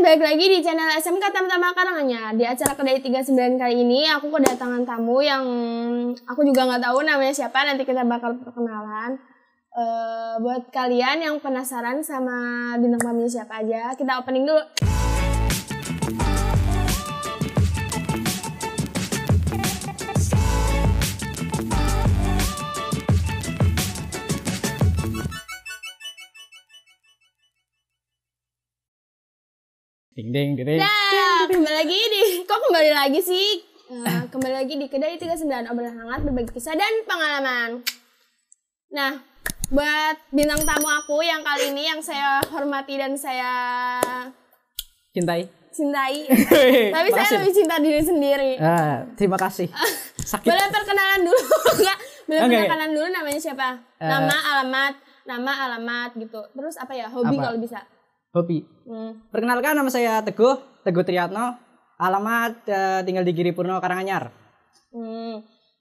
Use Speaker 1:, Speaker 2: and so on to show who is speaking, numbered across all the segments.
Speaker 1: balik lagi di channel SMK Tama-Tama Karanganyar. Di acara Kedai 39 kali ini, aku kedatangan tamu yang aku juga nggak tahu namanya siapa, nanti kita bakal perkenalan. Eh, buat kalian yang penasaran sama bintang tamunya siapa aja, kita opening dulu.
Speaker 2: Ding ding ding.
Speaker 1: Nah.
Speaker 2: ding.
Speaker 1: Dah, kembali lagi di, kok kembali lagi sih? Eh, kembali lagi di Kedai 39, obrolan hangat, berbagi kisah dan pengalaman. Nah, buat bintang tamu aku yang kali ini yang saya hormati dan saya
Speaker 2: Cintai.
Speaker 1: cintai. Tapi
Speaker 2: Tapi
Speaker 1: saya lebih cinta diri sendiri.
Speaker 2: Ah, terima kasih. Sakit.
Speaker 1: Boleh perkenalan dulu enggak? Boleh
Speaker 2: Oke.
Speaker 1: perkenalan dulu namanya siapa?
Speaker 2: Eh.
Speaker 1: Nama, alamat, nama, alamat gitu. Terus apa ya? Hobi
Speaker 2: Apa?
Speaker 1: kalau bisa.
Speaker 2: Hobi.
Speaker 1: Hmm.
Speaker 2: Perkenalkan nama saya Teguh, Teguh Triatno. Alamat eh, tinggal di Giri Purno Karanganyar.
Speaker 1: Hmm.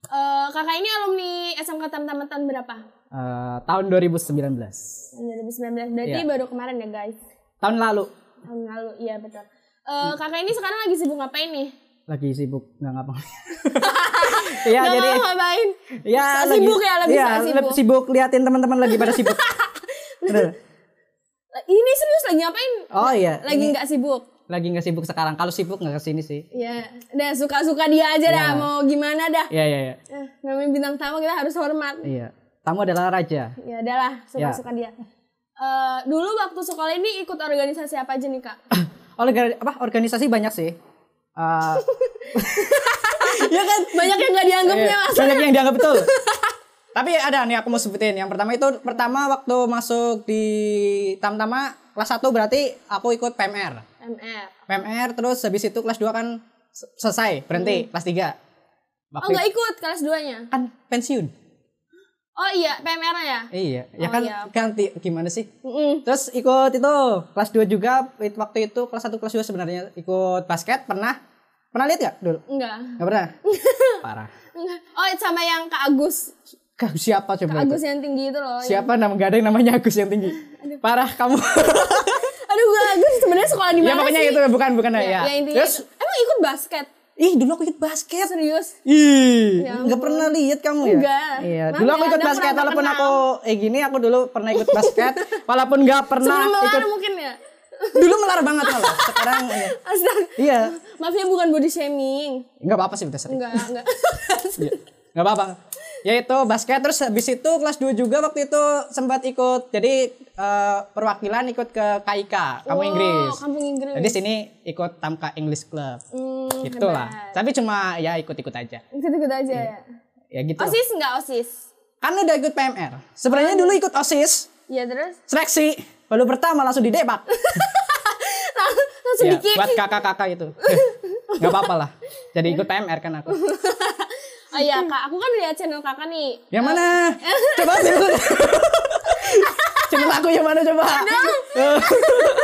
Speaker 1: Eh, kakak ini alumni SMK Tamtama tahun berapa?
Speaker 2: Eh, tahun 2019.
Speaker 1: Tahun 2019. Berarti
Speaker 2: Iya.
Speaker 1: baru kemarin ya, guys.
Speaker 2: Tahun lalu
Speaker 1: Tahun lalu. Iya, betul.
Speaker 2: Hmm.
Speaker 1: Eh, kakak ini sekarang lagi sibuk ngapain nih?
Speaker 2: lagi sibuk nggak ngapa Iya
Speaker 1: Gak
Speaker 2: jadi
Speaker 1: mau ngapain.
Speaker 2: ya
Speaker 1: sok sibuk ya, lebih
Speaker 2: iya,
Speaker 1: sok sibuk.
Speaker 2: lebih sibuk liatin teman-teman lagi pada sibuk. Bener.
Speaker 1: Ini serius lagi ngapain?
Speaker 2: Oh iya.
Speaker 1: Lagi nggak sibuk.
Speaker 2: Lagi nggak sibuk sekarang. Kalau sibuk nggak kesini sih.
Speaker 1: Ya, udah suka-suka dia aja dah.
Speaker 2: Iya.
Speaker 1: Mau gimana dah?
Speaker 2: Iya iya iya.
Speaker 1: Eh, namanya bintang tamu kita harus hormat.
Speaker 2: Iya. Tamu adalah raja.
Speaker 1: ya adalah suka-suka dia Eh, dulu waktu sekolah ini ikut organisasi apa aja nih kak
Speaker 2: Oleh apa organisasi banyak sih. Eh,
Speaker 1: ya kan banyak yang nggak dianggapnya
Speaker 2: Iya,
Speaker 1: mas
Speaker 2: banyak yang dianggap betul. Tapi ada nih aku mau sebutin. Yang pertama itu pertama waktu masuk di Tamtama kelas 1 berarti aku ikut PMR.
Speaker 1: mr
Speaker 2: PMR terus habis itu kelas 2 kan se- selesai, berhenti kelas 3.
Speaker 1: Hmm. oh
Speaker 2: Waktu
Speaker 1: nggak ikut kelas duanya
Speaker 2: itu kan pensiun.
Speaker 1: oh iya PMR ya
Speaker 2: Iya, ya
Speaker 1: Oh,
Speaker 2: kan
Speaker 1: iya.
Speaker 2: ganti gimana sih?
Speaker 1: Mm-mm.
Speaker 2: Terus ikut itu kelas 2 juga it- waktu itu kelas 1 kelas 2 sebenarnya ikut basket pernah pernah lihat gak dulu?
Speaker 1: enggak
Speaker 2: Gak pernah. Parah.
Speaker 1: Enggak. oh sama yang kak Agus
Speaker 2: Kak, siapa coba?
Speaker 1: kak
Speaker 2: itu?
Speaker 1: Agus yang tinggi itu loh
Speaker 2: Siapa nama gak ada yang namanya Agus yang tinggi? Parah kamu.
Speaker 1: aduh gue Agus sebenarnya sekolah di
Speaker 2: ya
Speaker 1: mana
Speaker 2: makanya
Speaker 1: sih
Speaker 2: itu bukan bukan ya.
Speaker 1: ya, intinya
Speaker 2: Terus
Speaker 1: itu. emang ikut basket
Speaker 2: ih dulu aku ikut basket.
Speaker 1: serius
Speaker 2: Ih,
Speaker 1: Ya
Speaker 2: nggak pernah lihat kamu ya?
Speaker 1: Enggak.
Speaker 2: Iya,
Speaker 1: Maaf
Speaker 2: dulu
Speaker 1: ya,
Speaker 2: aku ikut
Speaker 1: Anda
Speaker 2: basket
Speaker 1: kurang
Speaker 2: walaupun
Speaker 1: terkenal.
Speaker 2: aku eh gini aku dulu pernah ikut basket walaupun nggak pernah
Speaker 1: sebelum melar
Speaker 2: Nah, ikut.
Speaker 1: mungkin ya
Speaker 2: Dulu melar banget malah. Sekarang iya.
Speaker 1: Astaga.
Speaker 2: iya.
Speaker 1: maafnya bukan body shaming
Speaker 2: Enggak apa-apa sih udah sering.
Speaker 1: enggak enggak
Speaker 2: Iya. Nggak apa-apa. Ya itu basket terus habis itu kelas 2 juga waktu itu sempat ikut jadi eh, perwakilan ikut ke KIK, kamu
Speaker 1: Oh,
Speaker 2: Inggris.
Speaker 1: kampung Inggris
Speaker 2: Jadi sini ikut Tamka English Club.
Speaker 1: Hmm,
Speaker 2: gitu lah.
Speaker 1: hebat.
Speaker 2: Tapi cuma ya ikut-ikut aja.
Speaker 1: ikut-ikut aja ya
Speaker 2: Ya gitu.
Speaker 1: osis enggak osis
Speaker 2: Kan udah ikut PMR. Sebenarnya dulu ikut OSIS,
Speaker 1: Ya terus
Speaker 2: seleksi, baru pertama langsung di E depak.
Speaker 1: langsung, langsung
Speaker 2: Ya,
Speaker 1: dikit.
Speaker 2: buat kakak-kakak itu. Gak apa-apa lah. Jadi ikut PMR kan aku.
Speaker 1: Oh iya kak, aku kan lihat channel kakak nih.
Speaker 2: Yang mana? Coba sebut. Channel aku yang mana coba?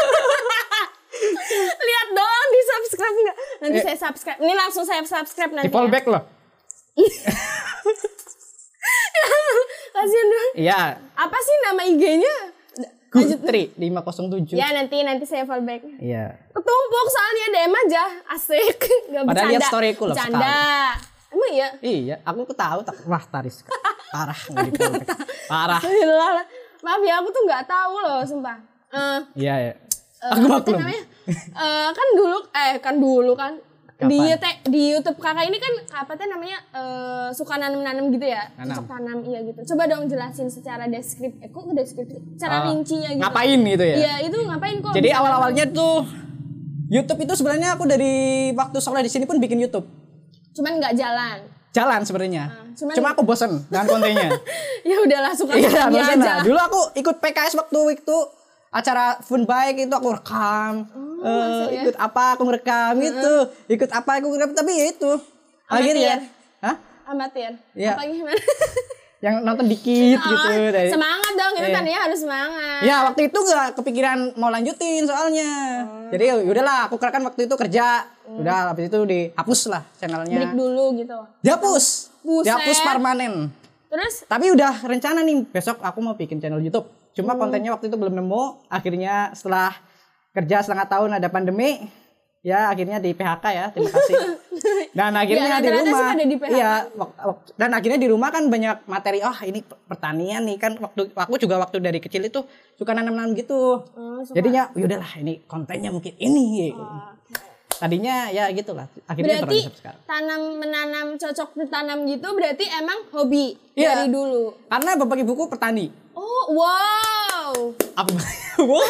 Speaker 1: lihat doang di subscribe nggak? Nanti saya subscribe. Ini langsung saya subscribe nanti. ya.
Speaker 2: Iya. Di fallback loh.
Speaker 1: Kasian dong.
Speaker 2: Iya.
Speaker 1: Apa sih nama IG-nya?
Speaker 2: Gutri 507.
Speaker 1: Ya nanti nanti saya fallback.
Speaker 2: Iya.
Speaker 1: Ketumpuk soalnya DM aja, asik. Gak bercanda.
Speaker 2: Padahal lihat story-ku loh
Speaker 1: Bercanda. Emang iya?
Speaker 2: Iya, aku tahu tak wah taris. Parah nggak di fallback. Parah.
Speaker 1: Alhamdulillah lah. Maaf ya, aku tuh nggak tahu loh, sumpah. Eh,
Speaker 2: Iya, iya.
Speaker 1: Eh,
Speaker 2: Aku
Speaker 1: apa
Speaker 2: maklum.
Speaker 1: namanya? Eh, kan dulu eh kan dulu kan di
Speaker 2: Kapan?
Speaker 1: YouTube di YouTube kakak ini kan apa teh namanya eh, suka nanam-nanam gitu ya
Speaker 2: Nanam.
Speaker 1: cocok tanam iya gitu coba dong jelasin secara deskripsi eh, kok deskripsi cara
Speaker 2: Ah,
Speaker 1: rincinya gitu
Speaker 2: Ngapain gitu ya?
Speaker 1: iya itu ngapain kok
Speaker 2: Jadi
Speaker 1: bisa nanam?
Speaker 2: awal-awalnya tuh YouTube itu sebenarnya aku dari waktu sekolah di sini pun bikin YouTube.
Speaker 1: cuman nggak jalan
Speaker 2: Jalan sebenarnya.
Speaker 1: Ah, cuman-
Speaker 2: Cuma aku bosen dengan kontennya.
Speaker 1: ya udahlah suka
Speaker 2: iya,
Speaker 1: dia aja
Speaker 2: bosen lah. Dulu aku ikut PKS waktu itu acara fun bike itu aku rekam. Eh,
Speaker 1: masuk ya.
Speaker 2: ikut apa aku rekam gitu. Ikut apa aku rekam tapi ya itu. Akhirnya. Hah?
Speaker 1: amatir
Speaker 2: Iya.
Speaker 1: apa gimana
Speaker 2: Yang nonton dikit gitu.
Speaker 1: Oh,
Speaker 2: dari-
Speaker 1: semangat dong itu
Speaker 2: Iya.
Speaker 1: tandanya harus semangat
Speaker 2: Ya waktu itu nggak kepikiran mau lanjutin soalnya. Jadi ya udahlah, aku kan waktu itu kerja. Udah habis itu dihapus lah
Speaker 1: break
Speaker 2: channelnya.
Speaker 1: dulu gitu
Speaker 2: Dihapus.
Speaker 1: Buset.
Speaker 2: Dihapus permanen.
Speaker 1: terus
Speaker 2: Tapi udah rencana nih besok aku mau bikin channel YouTube. Cuma kontennya waktu itu belum nemu. Akhirnya setelah kerja setengah tahun ada pandemi ya akhirnya di PHK ya terima kasih dan akhirnya di
Speaker 1: Ya, rata-rata
Speaker 2: rumah
Speaker 1: semua ada di PHK.
Speaker 2: iya wak- wak- dan akhirnya di rumah kan banyak materi oh ini pertanian nih kan waktu aku juga waktu dari kecil itu suka nanam-nanam gitu
Speaker 1: Oh, suka. Oh,
Speaker 2: jadinya yaudahlah ini kontennya mungkin ini tadinya ya gitulah akhirnya
Speaker 1: berarti
Speaker 2: terus sekarang
Speaker 1: tanam menanam cocok ditanam gitu berarti emang hobi
Speaker 2: Iya.
Speaker 1: dari dulu.
Speaker 2: karena bapak ibuku petani
Speaker 1: Oh wow.
Speaker 2: apa Wow.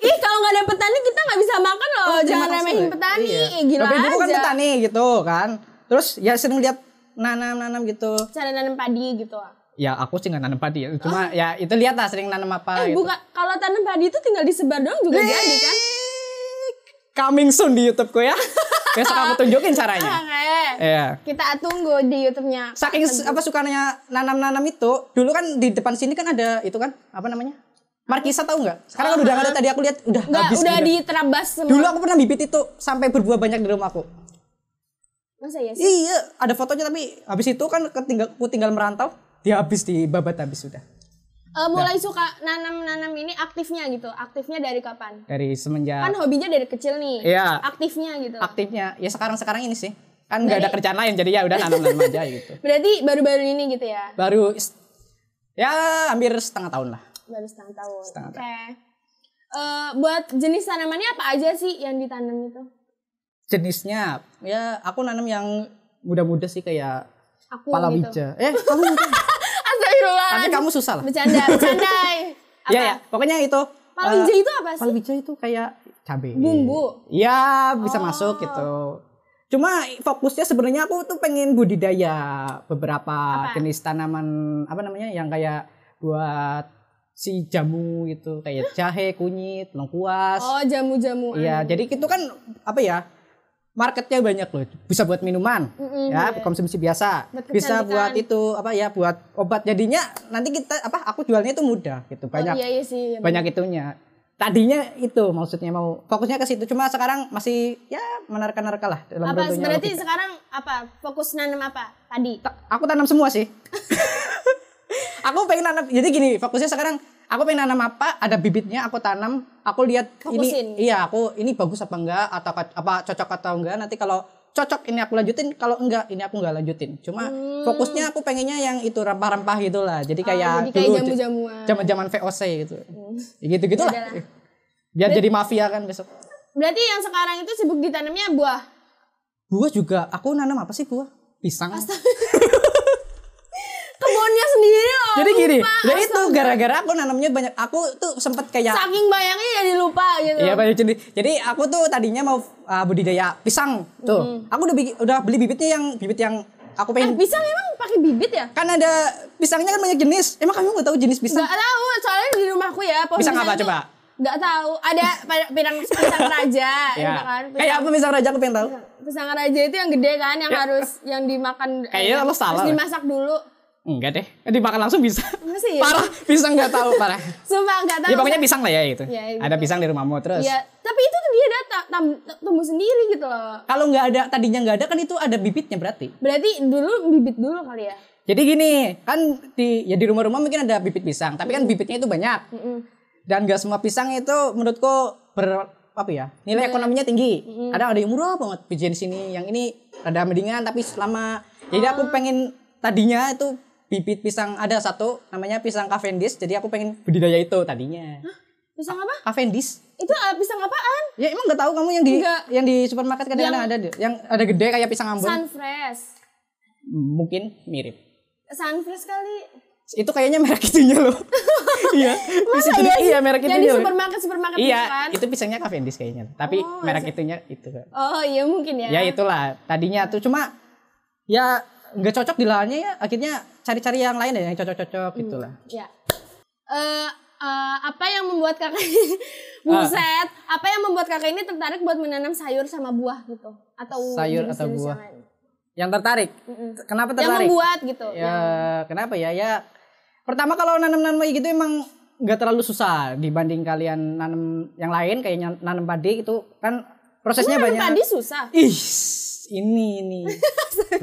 Speaker 1: Ih kalau nggak ada petani kita nggak bisa makan loh.
Speaker 2: Oh,
Speaker 1: Jangan
Speaker 2: terima kasih,
Speaker 1: remehin
Speaker 2: Mbak.
Speaker 1: petani.
Speaker 2: Iya.
Speaker 1: Ih, Gila
Speaker 2: Bapak ibu kan
Speaker 1: aja.
Speaker 2: petani gitu kan. Terus ya sering lihat nanam-nanam gitu.
Speaker 1: Cara nanam padi gitu. ah.
Speaker 2: Ya aku sih nggak nanam padi ya. Cuma ya itu lihat lah sering nanam
Speaker 1: Oh.
Speaker 2: apa
Speaker 1: Eh
Speaker 2: gitu.
Speaker 1: buka kalau tanam padi itu tinggal disebar doang juga jadi kan.
Speaker 2: Coming soon di YouTubeku ya. Besok aku tunjukin caranya.
Speaker 1: Oke.
Speaker 2: Iya.
Speaker 1: Kita tunggu di YouTube-nya.
Speaker 2: Saking s- apa sukanya nanam-nanam itu, dulu kan di depan sini kan ada itu kan apa namanya? Markisa tahu nggak? Sekarang udah nggak ada tadi aku lihat udah
Speaker 1: Oh, Nggak
Speaker 2: habis.
Speaker 1: udah
Speaker 2: gitu.
Speaker 1: diterabas semua.
Speaker 2: Dulu aku pernah bibit itu sampai berbuah banyak di rumah aku.
Speaker 1: Masa ya sih?
Speaker 2: Iya, ada fotonya tapi habis itu kan ketinggal aku tinggal merantau, dia Ya, habis di babat habis sudah.
Speaker 1: Eh, mulai suka nanam-nanam ini aktifnya gitu. Aktifnya dari kapan?
Speaker 2: Dari semenjak
Speaker 1: Kan hobinya dari kecil nih.
Speaker 2: Iya.
Speaker 1: Aktifnya gitu.
Speaker 2: aktifnya ya sekarang-sekarang ini sih. Kan nggak ada kerjaan lain jadi ya udah nanam-nanam aja gitu.
Speaker 1: Berarti baru-baru ini gitu ya.
Speaker 2: Baru is- ya hampir setengah tahun lah.
Speaker 1: Baru setengah tahun.
Speaker 2: Setengah
Speaker 1: Oke. Eh, buat jenis tanamannya apa aja sih yang ditanam itu?
Speaker 2: Jenisnya ya aku nanam yang muda-muda sih kayak
Speaker 1: Aku gitu.
Speaker 2: palawija. Eh, kamu tapi
Speaker 1: Astagfirullahaladzim.
Speaker 2: kamu susah lah.
Speaker 1: Bercanda, bercanda. Eh, Apa?
Speaker 2: Iya Eh, ya, pokoknya itu.
Speaker 1: Palawija itu apa sih?
Speaker 2: Palawija itu kayak cabe.
Speaker 1: Bumbu?
Speaker 2: Iya, bisa masuk gitu. Cuma fokusnya sebenarnya aku tuh pengen budidaya beberapa
Speaker 1: Apa?
Speaker 2: jenis tanaman apa namanya yang kayak buat si jamu gitu, kayak jahe, kunyit, lengkuas.
Speaker 1: Oh, jamu-jamuan.
Speaker 2: Iya, jadi itu kan apa ya? Marketnya banyak loh. Bisa buat minuman,
Speaker 1: Mm-mm,
Speaker 2: ya,
Speaker 1: iya.
Speaker 2: konsumsi biasa.
Speaker 1: Buat
Speaker 2: bisa
Speaker 1: kecantikan.
Speaker 2: buat itu apa ya, buat obat. Jadinya nanti kita apa aku jualnya itu mudah gitu,
Speaker 1: Oh,
Speaker 2: banyak
Speaker 1: iya, iya sih. iya,
Speaker 2: banyak itunya tadinya itu maksudnya mau fokusnya ke situ cuma sekarang masih ya menerka-nerka lah dalam
Speaker 1: Apa
Speaker 2: bentuknya
Speaker 1: berarti
Speaker 2: logika.
Speaker 1: sekarang apa? Fokus nanam apa? Padi.
Speaker 2: Ta- aku tanam semua sih aku pengen nanam jadi gini fokusnya sekarang aku pengen nanam apa ada bibitnya aku tanam aku lihat
Speaker 1: Fokusin.
Speaker 2: ini iya aku ini bagus apa enggak atau ka- apa cocok atau enggak nanti kalau cocok ini aku lanjutin kalau enggak ini aku enggak lanjutin cuma
Speaker 1: Hmm.
Speaker 2: fokusnya aku pengennya yang itu rempah-rempah gitulah jadi kayak
Speaker 1: Oh, jadi kayak
Speaker 2: dulu
Speaker 1: jamu-jamuan.
Speaker 2: zaman-zaman VOC gitu ya gitu gitulah
Speaker 1: Ya udahlah.
Speaker 2: biar jadi mafia kan besok
Speaker 1: Berarti yang sekarang itu sibuk ditanamnya buah.
Speaker 2: buah juga aku nanam apa sih buah pisang
Speaker 1: Kebunnya sendiri loh.
Speaker 2: jadi gini
Speaker 1: lupa.
Speaker 2: ya itu gara-gara aku nanamnya banyak aku tuh sempet kayak
Speaker 1: Saking banyaknya jadi lupa gitu.
Speaker 2: Iya banyak jenis. Jadi aku tuh tadinya mau uh, budidaya pisang tuh. Aku udah bikin- udah beli bibitnya yang bibit yang aku
Speaker 1: Hmm. Eh,
Speaker 2: pengen.
Speaker 1: pisang emang pakai bibit ya?
Speaker 2: kan ada pisangnya kan banyak jenis. Emang kamu nggak tahu jenis pisang?
Speaker 1: Gak tahu, soalnya di rumahku ya pohon
Speaker 2: Pisang apa
Speaker 1: tuh
Speaker 2: coba?
Speaker 1: Gak tahu. Ada pada- pirang pisang raja,
Speaker 2: Iya.
Speaker 1: gitu kan? Pisang,
Speaker 2: Kayak apa pisang raja aku pengen tahu.
Speaker 1: Iya. pisang raja itu yang gede kan, yang harus yang dimakan.
Speaker 2: Kayaknya
Speaker 1: eh,
Speaker 2: lo salah
Speaker 1: Harus
Speaker 2: deh.
Speaker 1: dimasak dulu.
Speaker 2: Enggak deh. Dimakan langsung bisa.
Speaker 1: Masih ya?
Speaker 2: Parah, pisang nggak tahu parah.
Speaker 1: Sumpah gak tahu.
Speaker 2: Ya pokoknya pisang lah ya itu.
Speaker 1: Nah, Ya, gitu.
Speaker 2: Ada pisang di rumahmu terus.
Speaker 1: Iya, tapi itu tuh dia datang tam- tumbuh sendiri gitu loh.
Speaker 2: Kalau nggak ada tadinya nggak ada kan itu ada bibitnya berarti.
Speaker 1: Berarti dulu bibit dulu kali ya.
Speaker 2: Jadi gini, kan di ya di rumah-rumah mungkin ada bibit pisang, tapi kan bibitnya itu banyak. Dan gak semua pisang itu menurutku ber apa ya? Nilai ekonominya tinggi. Ada ada yang murah banget biji di sini, yang ini ada mendingan tapi selama
Speaker 1: Ah.
Speaker 2: jadi aku pengen tadinya itu bibit pisang ada satu namanya pisang Cavendish, jadi aku pengen budidaya itu tadinya.
Speaker 1: Pisang apa?
Speaker 2: Cavendish.
Speaker 1: Itu ah, pisang apaan?
Speaker 2: Ya emang gak tahu kamu yang di
Speaker 1: Nggak.
Speaker 2: yang di supermarket kadang-kadang ada deh. yang ada gede kayak pisang Ambon.
Speaker 1: Sunfresh.
Speaker 2: Mungkin mirip.
Speaker 1: Sunfresh kali.
Speaker 2: itu kayaknya merek itunya loh. iya.
Speaker 1: Masa
Speaker 2: Itu-
Speaker 1: iya sih?
Speaker 2: Iya, merek
Speaker 1: Yang di
Speaker 2: itunya. loh.
Speaker 1: supermarket supermarket
Speaker 2: Iya,
Speaker 1: gitu kan?
Speaker 2: itu pisangnya Cavendish kayaknya. Tapi
Speaker 1: Oh,
Speaker 2: merek itunya itu.
Speaker 1: Oh iya mungkin ya.
Speaker 2: Ya itulah, tadinya tuh cuma ya nggak cocok di lahannya ya, akhirnya cari-cari yang lain ya yang cocok-cocok gitulah.
Speaker 1: Ya. Eh eh, apa yang membuat kakak ini buset? Apa yang membuat kakak ini tertarik buat menanam sayur sama buah gitu? Atau
Speaker 2: Sayur atau
Speaker 1: jenis-jenis
Speaker 2: buah.
Speaker 1: yang lain?
Speaker 2: Yang tertarik. Kenapa
Speaker 1: Hmm. Yang
Speaker 2: tertarik?
Speaker 1: membuat gitu.
Speaker 2: Ya, kenapa ya? Ya pertama kalau nanam-nanam kayak gitu emang nggak terlalu susah dibanding kalian nanam yang lain kayak nyan- nanam padi itu kan prosesnya
Speaker 1: Nanam
Speaker 2: banyak.
Speaker 1: padi susah.
Speaker 2: Ih, ini ini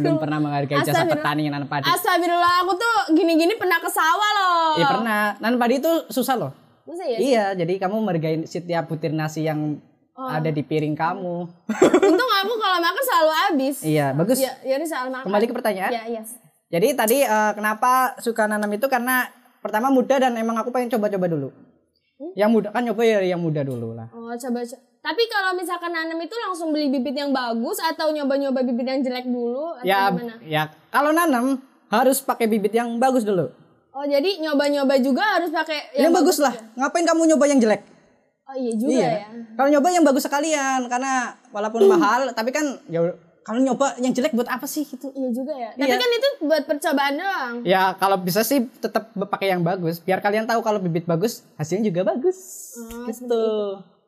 Speaker 2: belum pernah menghargai jasa
Speaker 1: Astagfirullah.
Speaker 2: petani yang nanam padi.
Speaker 1: Astagfirullah, aku tuh gini-gini pernah ke sawah loh.
Speaker 2: Iya pernah. Nanam padi itu susah loh.
Speaker 1: Masa ya?
Speaker 2: Iya, jadi kamu mergain setiap butir nasi yang
Speaker 1: Oh.
Speaker 2: ada di piring kamu.
Speaker 1: Untung aku kalau makan selalu habis.
Speaker 2: iya, bagus.
Speaker 1: Ya, jadi soal makan.
Speaker 2: Kembali ke pertanyaan.
Speaker 1: Ya, yes.
Speaker 2: Jadi tadi eh, kenapa suka nanam itu karena pertama muda dan emang aku pengen coba-coba dulu.
Speaker 1: Hmm?
Speaker 2: Yang muda kan nyoba ya yang muda dulu lah.
Speaker 1: Oh, coba. co- Tapi kalau misalkan nanam itu langsung beli bibit yang bagus atau nyoba-nyoba bibit yang jelek dulu atau
Speaker 2: Ya,
Speaker 1: gimana?
Speaker 2: ya kalau nanam harus pakai bibit yang bagus dulu.
Speaker 1: Oh, jadi nyoba-nyoba juga harus pakai
Speaker 2: yang bagus lah. Ngapain kamu nyoba yang jelek?
Speaker 1: Oh, iya Hmm. juga ya.
Speaker 2: Kalau nyoba yang bagus sekalian karena walaupun mahal tapi kan ya kalau nyoba yang jelek buat apa sih gitu?
Speaker 1: Iya juga ya. Tapi
Speaker 2: Iya.
Speaker 1: kan itu buat percobaan doang.
Speaker 2: Ya kalau bisa sih tetap pakai yang bagus biar kalian tahu kalau bibit bagus hasilnya juga bagus.
Speaker 1: Oh,
Speaker 2: gitu.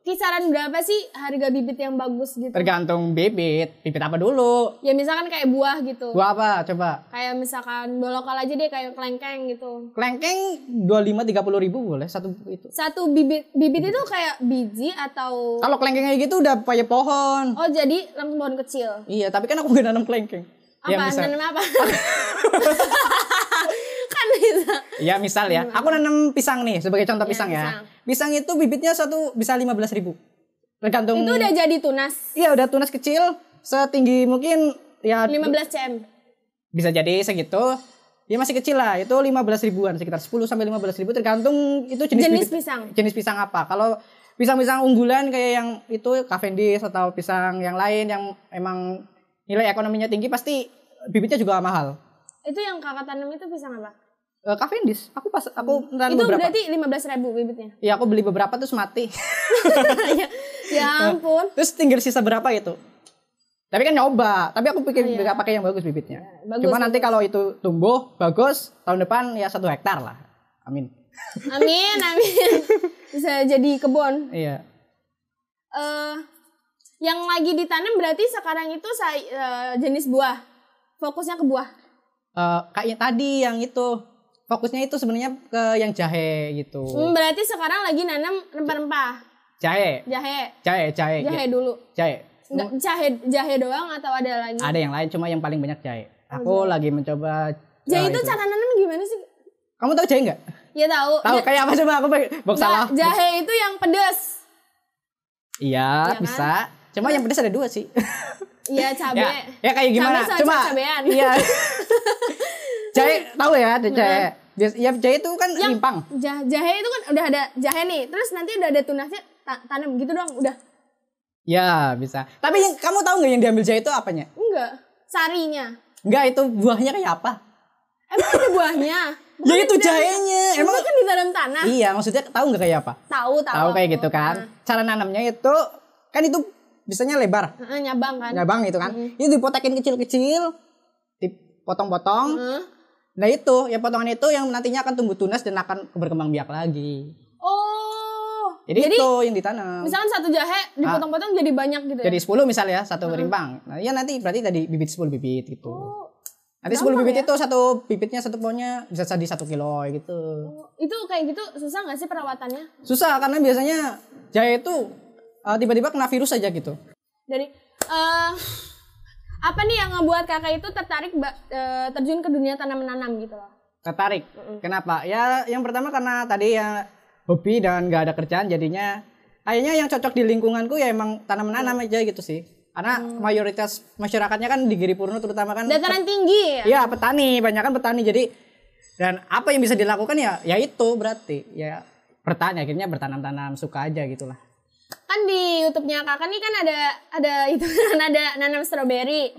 Speaker 1: Kisaran berapa sih harga bibit yang bagus gitu?
Speaker 2: Tergantung bibit, bibit apa dulu?
Speaker 1: Ya misalkan kayak buah gitu.
Speaker 2: Gua apa coba?
Speaker 1: Kayak misalkan bolokal aja deh kayak kelengkeng gitu.
Speaker 2: Klengkeng 25 30 ribu boleh satu itu.
Speaker 1: Satu bibit bibit itu kayak biji atau
Speaker 2: Kalau klengkeng kayak gitu udah pakai pohon.
Speaker 1: Oh, jadi langsung pohon kecil.
Speaker 2: Iya, tapi kan aku gak nanam klengkeng. Ya
Speaker 1: Apa?
Speaker 2: misal,
Speaker 1: Nanam apa? kan bisa.
Speaker 2: ya misal ya. Aku nanam pisang nih sebagai contoh pisang ya. Pisang itu bibitnya satu bisa 15 ribu. Tergantung
Speaker 1: Itu udah jadi tunas
Speaker 2: Iya udah tunas kecil setinggi mungkin ya
Speaker 1: 15 cm.
Speaker 2: bisa jadi segitu. Ya masih kecil lah, itu 15 ribuan sekitar 10 sampai 15 ribu tergantung itu jenis,
Speaker 1: Jenis
Speaker 2: bibit-
Speaker 1: pisang.
Speaker 2: jenis pisang apa. Kalau pisang-pisang unggulan kayak yang itu Cavendish atau pisang yang lain yang emang nilai ekonominya tinggi pasti bibitnya juga mahal.
Speaker 1: Itu yang kakak tanam itu pisang apa?
Speaker 2: Eh, Cavendish, aku pas aku
Speaker 1: Hmm.
Speaker 2: nanam
Speaker 1: itu
Speaker 2: beberapa.
Speaker 1: berarti 15.000 bibitnya.
Speaker 2: Iya, aku beli beberapa terus mati.
Speaker 1: ya, ya ampun.
Speaker 2: terus tinggal sisa berapa itu? Tapi kan nyoba, tapi aku
Speaker 1: Oh,
Speaker 2: pikir nggak pakai yang bagus bibitnya.
Speaker 1: iya. bagus,
Speaker 2: Cuma nanti kalau itu tumbuh bagus, tahun depan ya satu hektar lah. Amin.
Speaker 1: Amin, amin. Bisa jadi kebun.
Speaker 2: Iya.
Speaker 1: Eh yang lagi ditanam berarti sekarang itu say- eh, jenis buah. Fokusnya ke buah.
Speaker 2: Eh, kayak tadi yang itu fokusnya itu sebenarnya ke yang jahe gitu.
Speaker 1: Hmm, berarti sekarang lagi nanam rempah-rempah.
Speaker 2: Jahe,
Speaker 1: Jahe,
Speaker 2: jahe, jahe,
Speaker 1: jahe
Speaker 2: jahe.
Speaker 1: dulu.
Speaker 2: jahe.
Speaker 1: Enggak, jahe jahe doang atau ada lagi?
Speaker 2: Ada yang lain cuma yang paling banyak jahe. Aku lagi mencoba eh,
Speaker 1: Oh, Jahe Ya, itu cara nanam gimana sih?
Speaker 2: Kamu tahu jahe nggak?
Speaker 1: Ya tahu.
Speaker 2: Tahu
Speaker 1: Ja-
Speaker 2: kayak apa coba aku pakai box
Speaker 1: ja-
Speaker 2: salah.
Speaker 1: Jahe itu yang pedas.
Speaker 2: Iya,
Speaker 1: kan?
Speaker 2: bisa. Cuma yang pedas ada dua sih.
Speaker 1: Iya cabe.
Speaker 2: ya, ya kayak gimana?
Speaker 1: Cabe sama
Speaker 2: Cuma
Speaker 1: cabean.
Speaker 2: iya. jahe tahu ya, ada jahe. Bias- Ya jahe itu kan
Speaker 1: Yang-
Speaker 2: limpang.
Speaker 1: Ja- jahe itu kan udah ada jahe nih. Terus nanti udah ada tunasnya ta- tanam gitu doang udah.
Speaker 2: Ya, bisa. Tapi yang kamu tahu nggak yang diambil jahe itu apanya?
Speaker 1: Enggak. Sarinya.
Speaker 2: Enggak, itu buahnya kayak apa?
Speaker 1: Emang ada buahnya?
Speaker 2: ya itu jahenya. Emang
Speaker 1: Emang kan di dalam tanah.
Speaker 2: Iya, maksudnya tahu nggak kayak apa?
Speaker 1: Tahu tahu. hmm.
Speaker 2: Tahu kayak
Speaker 1: aku.
Speaker 2: gitu kan. Cara nanamnya itu kan itu bisanya lebar,
Speaker 1: Heeh, nyabang kan.
Speaker 2: ngabang gitu kan. Itu dipotekin kecil-kecil, dipotong-potong.
Speaker 1: Heeh.
Speaker 2: Nah itu, ya potongan itu yang nantinya akan tumbuh tunas dan akan berkembang biak lagi.
Speaker 1: Oh.
Speaker 2: Jadi,
Speaker 1: Jadi,
Speaker 2: itu yang ditanam.
Speaker 1: misalkan satu jahe dipotong-potong jadi banyak gitu ya.
Speaker 2: Jadi 10 misalnya satu rimbang. Nah, ya nanti berarti tadi bibit 10 bibit gitu.
Speaker 1: Hmm. Oh, ya?
Speaker 2: nanti 10 bibit itu satu bibitnya satu pohonnya bisa jadi satu kilo gitu.
Speaker 1: oh. itu kayak gitu susah nggak sih perawatannya?
Speaker 2: Susah karena biasanya jahe itu uh, tiba-tiba kena virus aja gitu.
Speaker 1: dari eh apa nih yang ngebuat kakak itu tertarik ba- eh, terjun ke dunia tanam menanam gitu loh
Speaker 2: Tertarik. Kenapa? Ya yang pertama karena tadi ya hobi dan gak ada kerjaan jadinya kayaknya yang cocok di lingkunganku ya emang tanam menanam aja gitu sih. Karena mayoritas masyarakatnya kan di Giripurno terutama kan
Speaker 1: dataran tinggi ya
Speaker 2: Iya petani, banyak kan petani. Jadi dan apa yang bisa dilakukan ya, ya itu berarti ya bertanya akhirnya bertanam-tanam suka aja gitulah.
Speaker 1: kan di YouTube-nya kakak nih kan ada ada itu kan ada nanam stroberi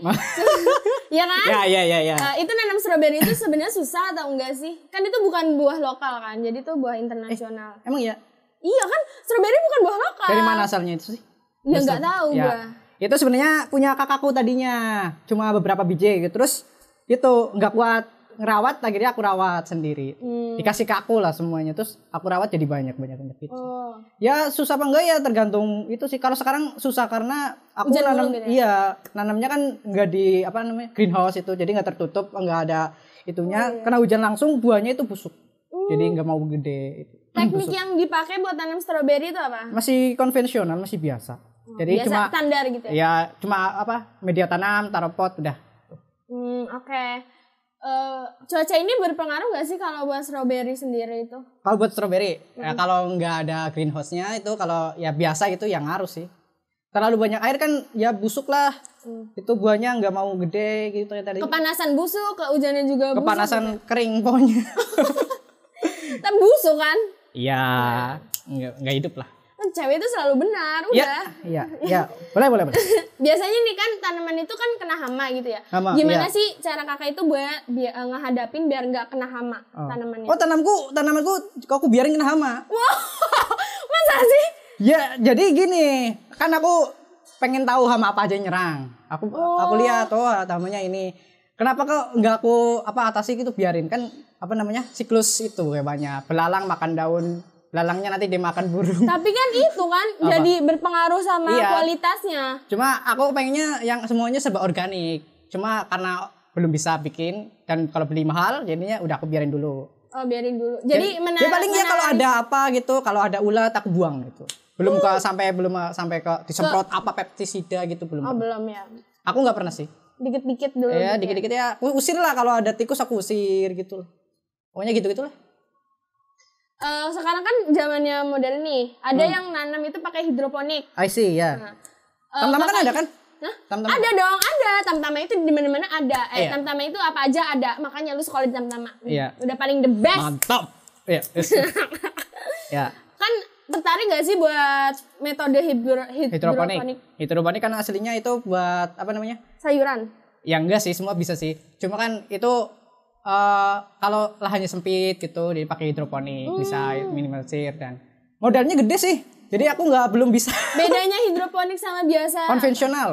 Speaker 1: ya kan
Speaker 2: ya ya ya ya.
Speaker 1: Eh, itu nanam stroberi itu sebenarnya susah atau enggak sih kan itu bukan buah lokal kan jadi itu buah internasional
Speaker 2: Emang ya
Speaker 1: iya kan stroberi bukan buah lokal
Speaker 2: dari mana asalnya itu sih?
Speaker 1: ya nggak tahu
Speaker 2: ya.
Speaker 1: gua
Speaker 2: Itu sebenarnya punya kakakku tadinya, cuma beberapa biji gitu. Terus itu nggak kuat ngerawat, akhirnya aku rawat sendiri.
Speaker 1: Hmm.
Speaker 2: Dikasih ke aku lah semuanya, terus aku rawat jadi banyak banyak banyak gitu.
Speaker 1: oh
Speaker 2: Ya susah apa enggak ya tergantung itu sih. Kalau sekarang susah karena aku
Speaker 1: Hujan
Speaker 2: nanam
Speaker 1: mulu gitu ya?
Speaker 2: iya, nanamnya kan enggak di apa namanya? greenhouse itu. Jadi enggak tertutup, enggak ada
Speaker 1: Oh,
Speaker 2: itunya.
Speaker 1: iya.
Speaker 2: Karena hujan langsung buahnya itu busuk. Jadi enggak mau gede itu.
Speaker 1: teknik yang dipakai buat nanam stroberi itu apa
Speaker 2: Masih konvensional, masih biasa. Jadi
Speaker 1: biasa
Speaker 2: cuma Iya.
Speaker 1: standar gitu ya
Speaker 2: ya cuma apa? media tanam, taruh pot udah.
Speaker 1: Hmm, oke. Eh eh, cuaca ini berpengaruh nggak sih kalau buat strawberry sendiri itu?
Speaker 2: Kalau buat strawberry, ya kalau nggak ada greenhouse-nya itu kalau ya biasa itu yang ngaruh sih. Terlalu banyak air kan ya busuk lah.
Speaker 1: Hmm.
Speaker 2: Itu buahnya nggak mau gede gitu ya tadi.
Speaker 1: Kepanasan busuk, kehujanan juga busuk.
Speaker 2: Kepanasan kering pohonnya.
Speaker 1: Tapi busuk kan?
Speaker 2: Iya, nggak nggak hidup lah.
Speaker 1: Kan Cewek itu selalu benar, udah.
Speaker 2: Ya, ya, ya. Boleh, boleh, boleh.
Speaker 1: Biasanya nih kan tanaman itu kan kena hama gitu ya.
Speaker 2: Hama,
Speaker 1: Gimana
Speaker 2: iya.
Speaker 1: sih cara kakak itu buat bi- eh, ngehadapin biar nggak kena hama
Speaker 2: Oh.
Speaker 1: tanamannya?
Speaker 2: Oh, tanamanku, tanamanku kok aku biarin kena hama.
Speaker 1: Wow, masa sih?
Speaker 2: Ya, jadi gini, kan aku pengen tahu hama apa aja yang nyerang. Aku aku lihat oh hamanya ini. Kenapa kok nggak aku apa atasi gitu biarin kan apa namanya siklus itu hebatnya belalang makan daun belalangnya nanti dimakan burung.
Speaker 1: Tapi kan itu kan
Speaker 2: Apa?
Speaker 1: jadi berpengaruh sama
Speaker 2: Iya.
Speaker 1: kualitasnya.
Speaker 2: Cuma aku pengennya yang semuanya serba organik. Cuma karena belum bisa bikin dan kalau beli mahal jadinya udah aku biarin dulu.
Speaker 1: Oh, biarin dulu. Jadi menar-
Speaker 2: ya palingnya
Speaker 1: menar-
Speaker 2: kalau ada apa gitu, kalau ada ulat aku buang gitu. Belum ke sampai belum eh, sampai ke disemprot apa pestisida gitu belum.
Speaker 1: Oh, belum ya.
Speaker 2: Aku nggak pernah sih.
Speaker 1: Dikit-dikit dulu.
Speaker 2: Ya
Speaker 1: gitu
Speaker 2: dikit-dikit ya. Aku usir lah kalau ada tikus aku usir gitu. loh. Pokoknya gitu gitulah.
Speaker 1: Eh, sekarang kan zamannya modern nih. Ada
Speaker 2: Hmm.
Speaker 1: yang nanam itu pakai hidroponik.
Speaker 2: I see ya.
Speaker 1: Eh,
Speaker 2: Tam-taman kan ada kan?
Speaker 1: Hah?
Speaker 2: Tam-tam.
Speaker 1: Ada dong, ada. Tamtama itu di mana-mana ada. Eh,
Speaker 2: Iya.
Speaker 1: tamtama itu apa aja ada. Makanya lu sekolah di tamtama.
Speaker 2: Iya.
Speaker 1: Udah paling the best.
Speaker 2: Mantap. Ya. yes. ya.
Speaker 1: Kan tertarik gak sih buat metode hidro- hidroponik,
Speaker 2: Hidroponik. Hidroponik kan aslinya itu buat apa namanya?
Speaker 1: sayuran?
Speaker 2: Ya enggak sih, semua bisa sih. Cuma kan itu eh kalau lahannya sempit gitu dipakai hidroponik
Speaker 1: Hmm.
Speaker 2: bisa minimalisir dan modalnya gede sih. Jadi aku nggak belum bisa
Speaker 1: Bedanya hidroponik sama biasa.
Speaker 2: Oh, konvensional.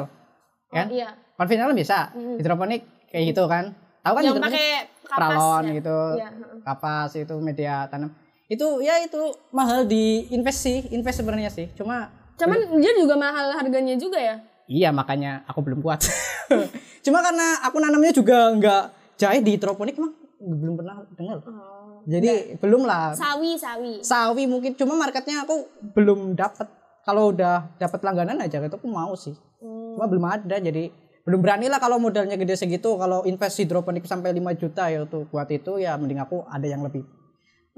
Speaker 2: Kan?
Speaker 1: Iya.
Speaker 2: Konvensional bisa, hidroponik kayak gitu kan. Tahu kan
Speaker 1: Hmm. Yang
Speaker 2: hidroponik?
Speaker 1: pakai kapas.
Speaker 2: pralon
Speaker 1: ya.
Speaker 2: gitu
Speaker 1: Iya, heeh.
Speaker 2: kapas itu media tanam itu ya itu mahal di invest sih invest sebenarnya sih cuma
Speaker 1: Cuman dia juga mahal harganya juga ya.
Speaker 2: iya makanya aku belum kuat cuma karena aku nanamnya juga nggak jahe di hidroponik emang belum pernah dengar Oh.
Speaker 1: Oh,
Speaker 2: jadi belum lah
Speaker 1: Sawi, sawi.
Speaker 2: sawi mungkin cuma marketnya aku belum dapat kalau udah dapat langganan aja itu aku mau sih
Speaker 1: Hmm.
Speaker 2: cuma belum ada jadi belum berani lah kalau modalnya gede segitu kalau invest hidroponik sampai 5 juta ya tuh buat itu ya mending aku ada yang lebih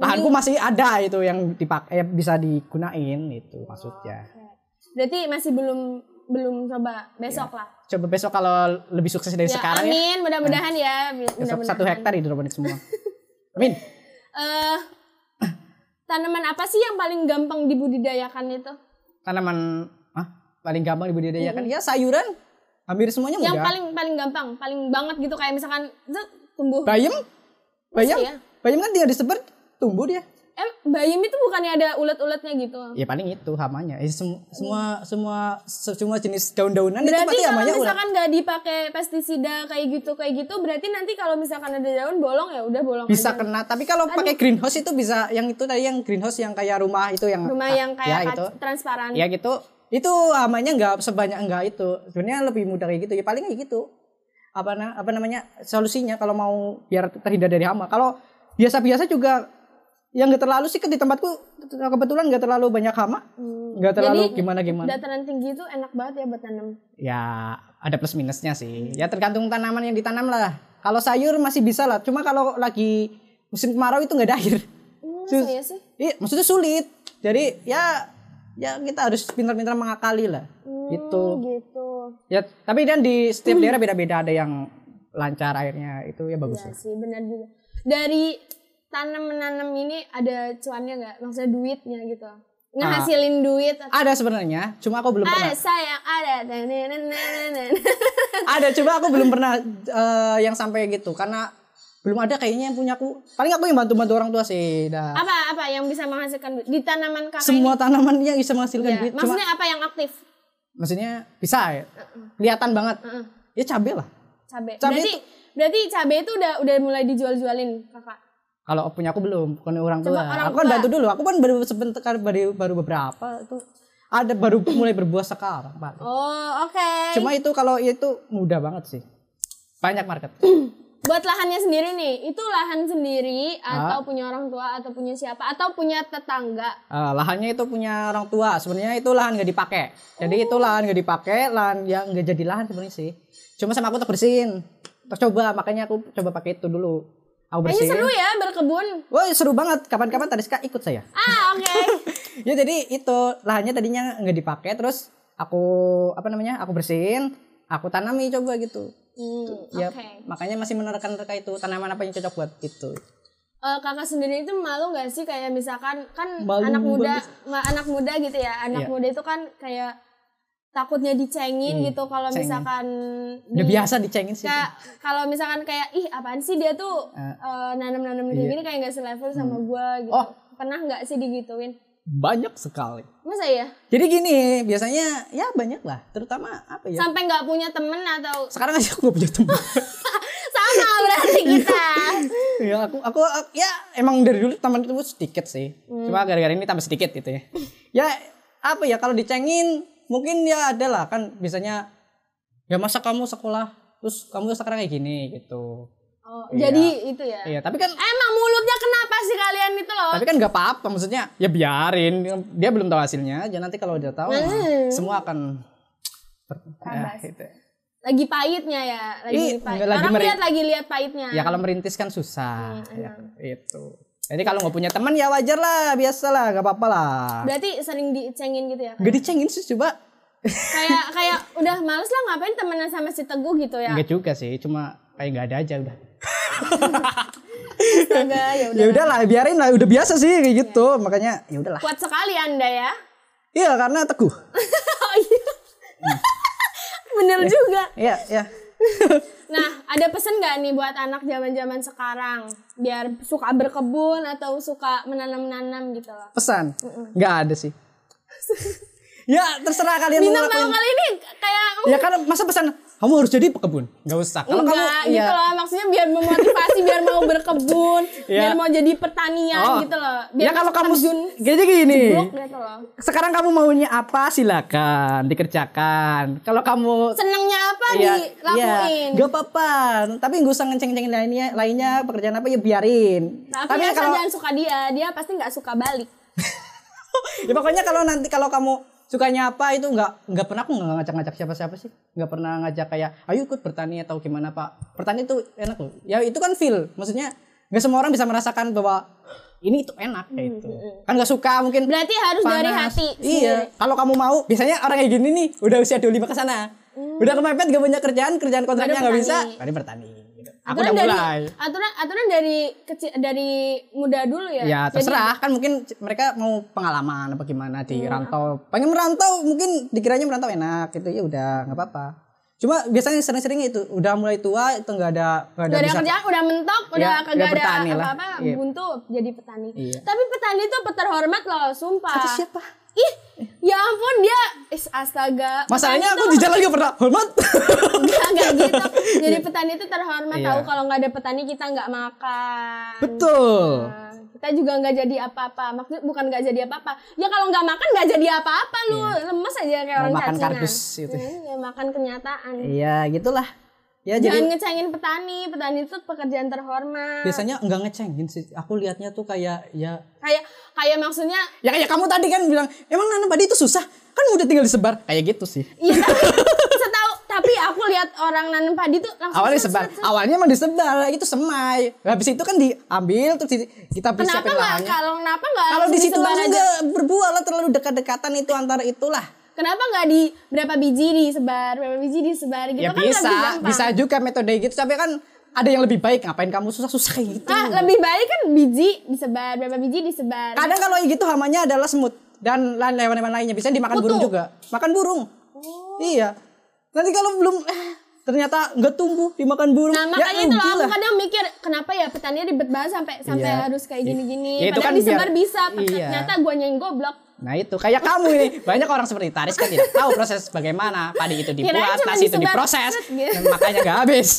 Speaker 2: lahanku masih ada itu yang dipakai eh, bisa digunain itu maksudnya
Speaker 1: Berarti masih belum belum coba besok lah.
Speaker 2: coba besok kalau lebih sukses dari
Speaker 1: Oh. Ya,
Speaker 2: sekarang Iya. ya
Speaker 1: amin, mudah-mudahan ya.
Speaker 2: besok
Speaker 1: Mudah-mudahan.
Speaker 2: satu hektar hidroponik semua amin
Speaker 1: Eh, tanaman apa sih yang paling gampang dibudidayakan itu?
Speaker 2: tanaman ah paling gampang dibudidayakan ya sayuran hampir semuanya
Speaker 1: Yang
Speaker 2: mudah
Speaker 1: paling paling gampang, paling banget gitu kayak misalkan zet, tumbuh.
Speaker 2: bayam bayam
Speaker 1: Iya.
Speaker 2: bayam kan dia disebar tumbuh dia
Speaker 1: Em, bayam itu bukannya ada ulet-uletnya gitu.
Speaker 2: ya paling itu hamanya Eh, sem- semua semua se- semua jenis daun-daunan itu
Speaker 1: Berarti
Speaker 2: pasti
Speaker 1: kalau
Speaker 2: hamanya ulat
Speaker 1: misalkan nggak dipakai pestisida kayak gitu kayak gitu, berarti nanti kalau misalkan ada daun bolong ya udah bolong
Speaker 2: bisa
Speaker 1: aja.
Speaker 2: kena tapi kalau pakai greenhouse itu bisa yang itu tadi yang greenhouse yang kayak rumah itu yang
Speaker 1: Rumah
Speaker 2: ah,
Speaker 1: yang kayak
Speaker 2: ya,
Speaker 1: kac-
Speaker 2: gitu
Speaker 1: transparan.
Speaker 2: ya gitu itu hamanya nggak sebanyak nggak itu sebenarnya lebih mudah kayak gitu ya paling kayak gitu apa na- apa namanya solusinya kalau mau biar terhindar dari hama kalau biasa-biasa juga yang nggak terlalu sih ke di tempatku kebetulan nggak terlalu banyak hama nggak terlalu
Speaker 1: Hmm. Jadi,
Speaker 2: gimana gimana
Speaker 1: Dataran tinggi itu enak banget ya buat tanam.
Speaker 2: ya ada plus minusnya sih. Ya tergantung tanaman yang ditanam lah. Kalau sayur masih bisa lah. Cuma kalau lagi musim kemarau itu nggak ada air.
Speaker 1: Hmm,
Speaker 2: Sus-
Speaker 1: saya sih.
Speaker 2: Iya, maksudnya sulit. Jadi ya ya kita harus pintar-pintar mengakali lah. Gitu.
Speaker 1: Hmm, gitu.
Speaker 2: Ya tapi dan di setiap daerah beda-beda ada yang lancar airnya itu ya bagus
Speaker 1: Ya
Speaker 2: lah.
Speaker 1: sih, benar juga. Dari tanam menanam ini ada cuannya nggak? Maksudnya duitnya gitu. Ngehasilin duit atau
Speaker 2: Ada sebenarnya, cuma aku Ah. belum
Speaker 1: ada
Speaker 2: pernah.
Speaker 1: sayang ada Nenenenenen.
Speaker 2: Ada, cuma aku belum pernah eh, yang sampai gitu karena belum ada kayaknya yang punya aku. Paling aku yang bantu-bantu orang tua sih. Dah.
Speaker 1: apa apa yang bisa menghasilkan duit di tanaman kakak ini?
Speaker 2: Semua tanaman yang bisa menghasilkan
Speaker 1: Ya,
Speaker 2: duit. Cuma
Speaker 1: maksudnya apa yang aktif
Speaker 2: maksudnya bisa ya kelihatan banget ya cabai lah
Speaker 1: cabe
Speaker 2: Cabe
Speaker 1: berarti berarti cabe itu udah udah mulai dijual-jualin kakak
Speaker 2: kalau punya aku belum bukan orang tua
Speaker 1: Coba orang
Speaker 2: aku kan
Speaker 1: tua.
Speaker 2: bantu dulu aku kan baru sebentar baru baru beberapa Oh, itu ada baru mulai berbuah sekarang Pak.
Speaker 1: oh oke
Speaker 2: cuma itu kalau itu mudah banget sih banyak market Eh,
Speaker 1: buat lahannya sendiri nih itu lahan sendiri
Speaker 2: Ah.
Speaker 1: atau punya orang tua atau punya siapa atau punya tetangga
Speaker 2: Eh, lahannya itu punya orang tua sebenarnya itu lahan nggak dipakai
Speaker 1: Oh.
Speaker 2: jadi itu lahan nggak dipakai lahan yang nggak jadi lahan sebenarnya sih cuma sama aku tuh bersihin Terus coba makanya aku coba pakai itu dulu. Aku
Speaker 1: Kayaknya
Speaker 2: bersihin.
Speaker 1: seru ya berkebun.
Speaker 2: Wah seru banget. Kapan-kapan Tadiska ikut saya.
Speaker 1: Ah, oke.
Speaker 2: ya jadi itu lahannya tadinya nggak dipakai terus aku apa namanya aku bersihin aku tanami coba gitu
Speaker 1: Hmm,
Speaker 2: ya
Speaker 1: oke.
Speaker 2: makanya masih menerka-nerka itu tanaman apa yang cocok buat itu
Speaker 1: Eh, kakak sendiri itu malu nggak sih kayak misalkan kan
Speaker 2: Malu
Speaker 1: anak muda
Speaker 2: banget.
Speaker 1: ma- anak muda gitu ya anak
Speaker 2: Iya.
Speaker 1: muda itu kan kayak takutnya dicengin
Speaker 2: Hmm,
Speaker 1: gitu kalau
Speaker 2: cengin.
Speaker 1: misalkan di-
Speaker 2: udah Ya, biasa dicengin sih
Speaker 1: kayak kalau misalkan kayak ih apaan sih dia tuh
Speaker 2: Eh.
Speaker 1: eh, nanam-nanam kayak
Speaker 2: Iya.
Speaker 1: gini kayak nggak selevel sama gua gitu
Speaker 2: Oh.
Speaker 1: pernah nggak sih digituin
Speaker 2: banyak sekali
Speaker 1: masa ya
Speaker 2: jadi gini biasanya ya banyak lah terutama apa ya
Speaker 1: sampai nggak punya temen atau
Speaker 2: sekarang aja aku gak punya teman
Speaker 1: sama berarti kita
Speaker 2: ya aku, aku aku- ya emang dari dulu teman itu sedikit sih
Speaker 1: Hmm.
Speaker 2: cuma gara-gara ini tambah sedikit gitu ya ya apa ya kalau dicengin mungkin ya ada lah kan biasanya ya masa kamu sekolah terus kamu sekarang kayak gini gitu
Speaker 1: oh,
Speaker 2: Iya.
Speaker 1: jadi itu ya
Speaker 2: iya tapi kan
Speaker 1: emang mulutnya kenapa sih kalian itu loh
Speaker 2: tapi kan nggak apa-apa maksudnya ya biarin dia belum tahu hasilnya aja nanti kalau udah tahu mah,
Speaker 1: Hmm.
Speaker 2: semua akan
Speaker 1: Tambah.
Speaker 2: ya, gitu.
Speaker 1: lagi pahitnya ya lagi
Speaker 2: Ih,
Speaker 1: pahit
Speaker 2: nggak lagi
Speaker 1: orang
Speaker 2: meri-
Speaker 1: lihat lagi lihat pahitnya
Speaker 2: ya kalau merintis kan susah
Speaker 1: Hmm,
Speaker 2: ya, itu jadi kalau nggak punya teman ya wajar lah biasa lah nggak apa-apa lah
Speaker 1: berarti sering dicengin gitu ya kayak
Speaker 2: Gak dicengin sih coba
Speaker 1: kayak, kayak udah males lah ngapain temenan sama si teguh gitu ya
Speaker 2: Enggak juga sih, cuma kayak nggak ada aja udah.
Speaker 1: Astaga, ya udah
Speaker 2: Ya udahlah, biarin lah, udah biasa sih kayak gitu.
Speaker 1: Iya.
Speaker 2: Makanya ya udahlah.
Speaker 1: kuat sekali anda ya
Speaker 2: Iya, karena teguh.
Speaker 1: oh iya bener juga
Speaker 2: Iya, iya.
Speaker 1: Eh. nah ada pesan nggak nih buat anak zaman zaman sekarang biar suka berkebun atau suka menanam nanam gitu loh
Speaker 2: Pesan. nggak ada sih. ya, terserah kalian mau
Speaker 1: bintang tamu
Speaker 2: ngelakuin.
Speaker 1: kali ini kayak "Oh,
Speaker 2: Ya karena masa pesan kamu harus jadi pekebun. Nggak usah. Kalau kamu
Speaker 1: enggak gitu
Speaker 2: ya,
Speaker 1: loh maksudnya biar memotivasi biar mau berkebun
Speaker 2: Iya.
Speaker 1: biar mau jadi pertanian
Speaker 2: Oh.
Speaker 1: gitu loh biar
Speaker 2: ya kalau kamu
Speaker 1: terjun
Speaker 2: jadi gini.
Speaker 1: jeblok gitu loh
Speaker 2: Sekarang kamu maunya apa? Silakan dikerjakan. Kalau kamu
Speaker 1: senangnya apa
Speaker 2: Ya,
Speaker 1: dilakuin
Speaker 2: Iya, Gak apa-apa. Tapi gak usah ngeceng-cengin lainnya, lainnya pekerjaan apa ya biarin.
Speaker 1: tapi,
Speaker 2: Tapi,
Speaker 1: asal
Speaker 2: kalau
Speaker 1: Nah, jangan suka dia dia pasti nggak suka balik
Speaker 2: ya pokoknya kalau nanti kalau kamu sukanya apa itu nggak nggak pernah aku nggak ngajak-ngajak siapa-siapa sih nggak pernah ngajak kayak ayo ikut bertani atau gimana pak bertani itu enak loh ya itu kan feel maksudnya nggak semua orang bisa merasakan bahwa ini itu enak kayak itu kan nggak suka mungkin
Speaker 1: berarti harus dari
Speaker 2: panas.
Speaker 1: hati
Speaker 2: Iya. Kalau kamu mau, biasanya orang kayak gini nih, udah usia 25 ke sana. Udah kemepet gak punya kerjaan, kerjaan kontraknya
Speaker 1: Baru
Speaker 2: Hmm. nggak bisa.
Speaker 1: bertani.
Speaker 2: Tadi bertani. gitu. Aku
Speaker 1: aturan
Speaker 2: udah
Speaker 1: dari
Speaker 2: mulai.
Speaker 1: aturan aturan dari kecil dari muda dulu ya
Speaker 2: Ya
Speaker 1: Jadi-
Speaker 2: terserah kan mungkin c- mereka mau pengalaman apa gimana di rantau. Pengen merantau mungkin dikiranya merantau enak gitu ya udah nggak apa-apa. Cuma biasanya sering-sering itu udah mulai tua itu nggak ada nggak ada
Speaker 1: Udah ada
Speaker 2: bisa. Ya,
Speaker 1: kerjaan, udah mentok, udah
Speaker 2: udah
Speaker 1: kagak ada
Speaker 2: petani lah.
Speaker 1: apa-apa,
Speaker 2: Iya.
Speaker 1: buntu jadi petani.
Speaker 2: Iya.
Speaker 1: Tapi petani itu terhormat loh, sumpah.
Speaker 2: Kata siapa?
Speaker 1: Ih, ya ampun dia, is astaga. Petani
Speaker 2: Masalahnya aku di jalan gak pernah hormat.
Speaker 1: tuh enggak, enggak gitu. Jadi petani itu terhormat
Speaker 2: Iya.
Speaker 1: tahu kalau nggak ada petani kita nggak makan.
Speaker 2: Betul.
Speaker 1: Nah, kita juga nggak jadi apa-apa. Maksud bukan nggak jadi apa-apa. Ya kalau nggak makan nggak jadi apa-apa lu. Lemes aja kayak orang
Speaker 2: Iya. Mau makan
Speaker 1: cacingan.
Speaker 2: kardus gitu.
Speaker 1: Hmm, ya makan kenyataan.
Speaker 2: Iya gitulah. Ya jadi
Speaker 1: Jangan ngecengin petani. Petani itu pekerjaan terhormat.
Speaker 2: biasanya nggak ngecengin sih aku lihatnya tuh kayak ya
Speaker 1: kayak kayak maksudnya
Speaker 2: ya kayak kamu tadi kan bilang emang nanam padi itu susah kan udah tinggal disebar kayak gitu sih
Speaker 1: iya tapi setahu tapi aku lihat orang nanam padi tuh langsung
Speaker 2: awalnya
Speaker 1: set,
Speaker 2: disebar
Speaker 1: set, set.
Speaker 2: awalnya emang disebar itu semai habis itu kan diambil terus di- kita
Speaker 1: kenapa
Speaker 2: siapin
Speaker 1: nggak
Speaker 2: lahannya
Speaker 1: kalau kenapa nggak
Speaker 2: kalau
Speaker 1: langsung
Speaker 2: di situ
Speaker 1: disebar
Speaker 2: langsung
Speaker 1: aja?
Speaker 2: nggak berbuah lah terlalu dekat-dekatan itu antara itulah
Speaker 1: kenapa nggak di berapa biji disebar berapa biji disebar gitu
Speaker 2: ya
Speaker 1: kan
Speaker 2: bisa
Speaker 1: lebih gampang.
Speaker 2: bisa juga metode gitu tapi kan ada yang lebih baik ngapain kamu susah-susah kayak gitu
Speaker 1: nah lebih baik kan biji disebar berapa biji disebar
Speaker 2: kadang kalau gitu hamanya adalah semut dan lain- hewan-hewan lainnya bisa dimakan
Speaker 1: Kutu.
Speaker 2: burung juga makan burung
Speaker 1: Oh.
Speaker 2: iya nanti kalau belum ternyata nggak tumbuh dimakan burung Ya,
Speaker 1: nah makanya itu loh
Speaker 2: rugi
Speaker 1: aku
Speaker 2: lah.
Speaker 1: kadang mikir kenapa ya petani ribet banget sampai sampai
Speaker 2: Iya.
Speaker 1: harus kayak gini-gini
Speaker 2: Ya, itu
Speaker 1: padahal
Speaker 2: kan
Speaker 1: disebar
Speaker 2: biar-
Speaker 1: bisa
Speaker 2: Iya.
Speaker 1: ternyata guanya yang goblok
Speaker 2: nah itu kayak kamu ini banyak orang seperti Taris kan tidak tahu proses bagaimana padi itu
Speaker 1: Kirain
Speaker 2: dibuat
Speaker 1: cuma
Speaker 2: nasi itu
Speaker 1: disebar,
Speaker 2: diproses
Speaker 1: set, gitu.
Speaker 2: dan makanya nggak habis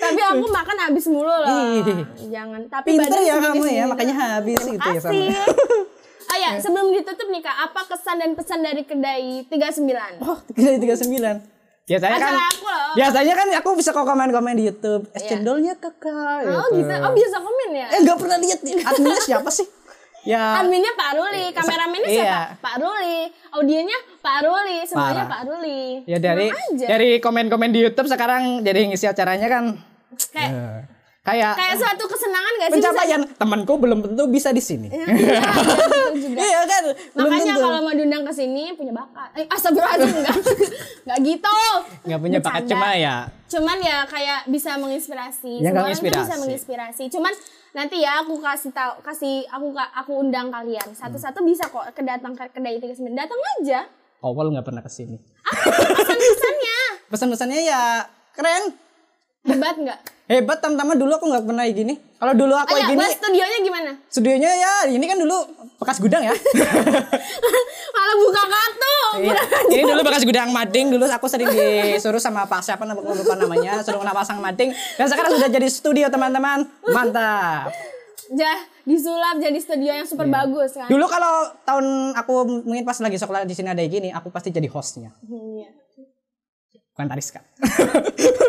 Speaker 1: tapi aku makan habis mulu loh
Speaker 2: Ih.
Speaker 1: jangan tapi
Speaker 2: pinter
Speaker 1: badan
Speaker 2: ya kamu ya
Speaker 1: sedikit-sedikit.
Speaker 2: makanya habis gitu ya sama
Speaker 1: Asik. Oh ya, sebelum ditutup nih Kak, apa kesan dan pesan dari kedai 39?
Speaker 2: oh tiga tiga sembilan biasanya kan
Speaker 1: Acara aku loh.
Speaker 2: biasanya kan aku bisa kok komen-komen di YouTube es
Speaker 1: Iya.
Speaker 2: cendolnya kakak
Speaker 1: Oh gitu. Oh biasa komen ya?
Speaker 2: eh nggak pernah lihat adminnya siapa sih ya
Speaker 1: Adminnya Pak Ruli, kameramennya
Speaker 2: iya.
Speaker 1: siapa? Pak Ruli, audionya Pak Ruli, semuanya
Speaker 2: Parah.
Speaker 1: Pak Ruli.
Speaker 2: ya dari
Speaker 1: Senang aja.
Speaker 2: dari komen-komen di YouTube sekarang jadi ngisi acaranya kan
Speaker 1: kayak
Speaker 2: eh, kayak
Speaker 1: kayak suatu kesenangan gak sih? bisa-
Speaker 2: pencapaian temanku belum tentu bisa di sini.
Speaker 1: Iya, betul juga.
Speaker 2: Iya kan? Belum
Speaker 1: Makanya
Speaker 2: tentu.
Speaker 1: kalau mau diundang ke sini punya bakat. Eh, astagfirullahaladzim enggak. Enggak gitu.
Speaker 2: nggak punya bakat
Speaker 1: Bercanda.
Speaker 2: cuma ya
Speaker 1: Cuman ya kayak bisa menginspirasi.
Speaker 2: Ya, nggak
Speaker 1: Semua orang tuh bisa
Speaker 2: menginspirasi.
Speaker 1: menginspirasi. Cuman nanti ya aku kasih tahu kasih aku aku undang
Speaker 2: Hmm.
Speaker 1: kalian. Satu-satu bisa kok kedatang ke kedai 39. Datang aja.
Speaker 2: awal nggak pernah kesini.
Speaker 1: Pesan-pesannya.
Speaker 2: Pesan-pesannya ya keren,
Speaker 1: Hebat enggak?
Speaker 2: hebat teman-teman dulu aku nggak pernah kayak gini. Kalau dulu aku kayak
Speaker 1: Ayo,
Speaker 2: gini,
Speaker 1: bahas studionya gimana?
Speaker 2: studionya ya ini kan dulu bekas gudang ya.
Speaker 1: Malah buka kartu.
Speaker 2: Iya. Ini dulu bekas gudang mading dulu aku sering disuruh sama Pak siapa nama aku lupa namanya suruh kenapa pasang mading dan sekarang sudah jadi studio teman-teman mantap.
Speaker 1: Jah, disulap jadi studio yang
Speaker 2: Iya.
Speaker 1: super bagus kan.
Speaker 2: Dulu kalau tahun aku mungkin pas lagi sekolah di sini ada kayak gini aku pasti jadi hostnya
Speaker 1: Iya.
Speaker 2: bukan Tariska.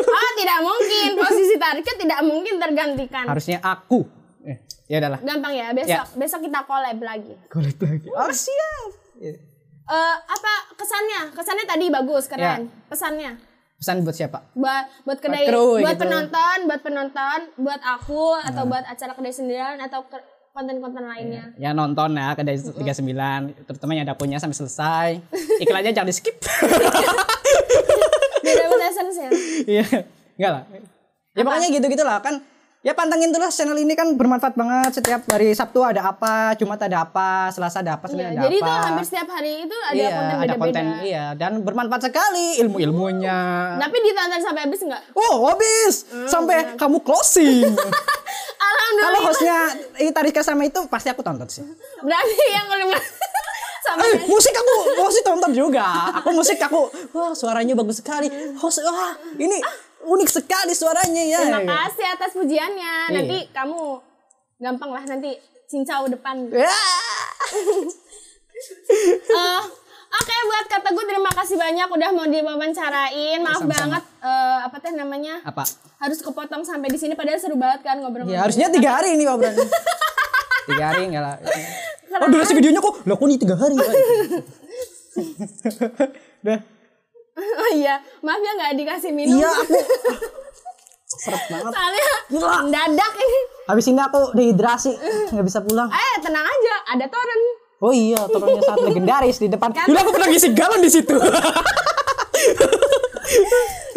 Speaker 1: Oh, tidak mungkin. Posisi target tidak mungkin tergantikan.
Speaker 2: Harusnya aku. Eh, ya udahlah.
Speaker 1: Gampang ya, besok besok kita collab lagi.
Speaker 2: Kulit lagi. Oh siap.
Speaker 1: Eh apa kesannya? Kesannya tadi bagus, keren.
Speaker 2: Ya.
Speaker 1: Pesannya
Speaker 2: Pesan buat siapa?
Speaker 1: buat buat kedai, buat
Speaker 2: kru, gitu. Nah.
Speaker 1: penonton, buat penonton, buat aku atau buat acara kedai sendirian atau ke- konten-konten lainnya.
Speaker 2: Ya nonton ya kedai 39 terutama yang ada punya sampai selesai. Iklannya jangan di skip.
Speaker 1: Beda beda sense ya.
Speaker 2: Iya. Enggak lah. Ya pokoknya gitu-gitu lah kan. Ya pantengin terus channel ini kan bermanfaat banget setiap hari Sabtu ada apa, Jumat ada apa, Selasa ada apa,
Speaker 1: Iya,
Speaker 2: Senin ada
Speaker 1: Jadi
Speaker 2: apa.
Speaker 1: itu hampir setiap hari itu ada
Speaker 2: Iya,
Speaker 1: konten
Speaker 2: ada
Speaker 1: beda-beda.
Speaker 2: konten iya dan bermanfaat sekali ilmu-ilmunya.
Speaker 1: Tapi ditonton sampai habis enggak?
Speaker 2: Oh, habis.
Speaker 1: Hmm.
Speaker 2: Sampai kamu closing. Kalau
Speaker 1: Alhamdulillah.
Speaker 2: hostnya ini Tarika sama itu pasti aku tonton sih.
Speaker 1: Berarti yang kelima sampai
Speaker 2: Eh, musik aku musik tonton juga. Aku musik aku wah suaranya bagus sekali. Host wah ini unik sekali suaranya ya.
Speaker 1: Terima kasih atas pujiannya.
Speaker 2: Iya.
Speaker 1: Nanti kamu gampang lah nanti cincau depan.
Speaker 2: Ya.
Speaker 1: Eh, Oke buat kata gue terima kasih banyak udah mau diwawancarain. Maaf
Speaker 2: Sama-sama.
Speaker 1: banget eh, apa teh namanya
Speaker 2: Apa?
Speaker 1: harus kepotong sampai di sini padahal seru banget kan ngobrol.
Speaker 2: Ya harusnya tiga hari ini obrolan. tiga hari enggak lah. Oh durasi videonya kok? Lah kok ini tiga hari? Dah.
Speaker 1: oh iya maaf ya nggak dikasih minum.
Speaker 2: Iya aku. Seret banget.
Speaker 1: Soalnya
Speaker 2: Gila.
Speaker 1: dadak ini.
Speaker 2: Habis ini aku dehidrasi, nggak bisa pulang.
Speaker 1: Eh tenang aja ada toren.
Speaker 2: Oh iya, turunnya sangat legendaris di depan. Dulu aku pernah ngisi galon di situ.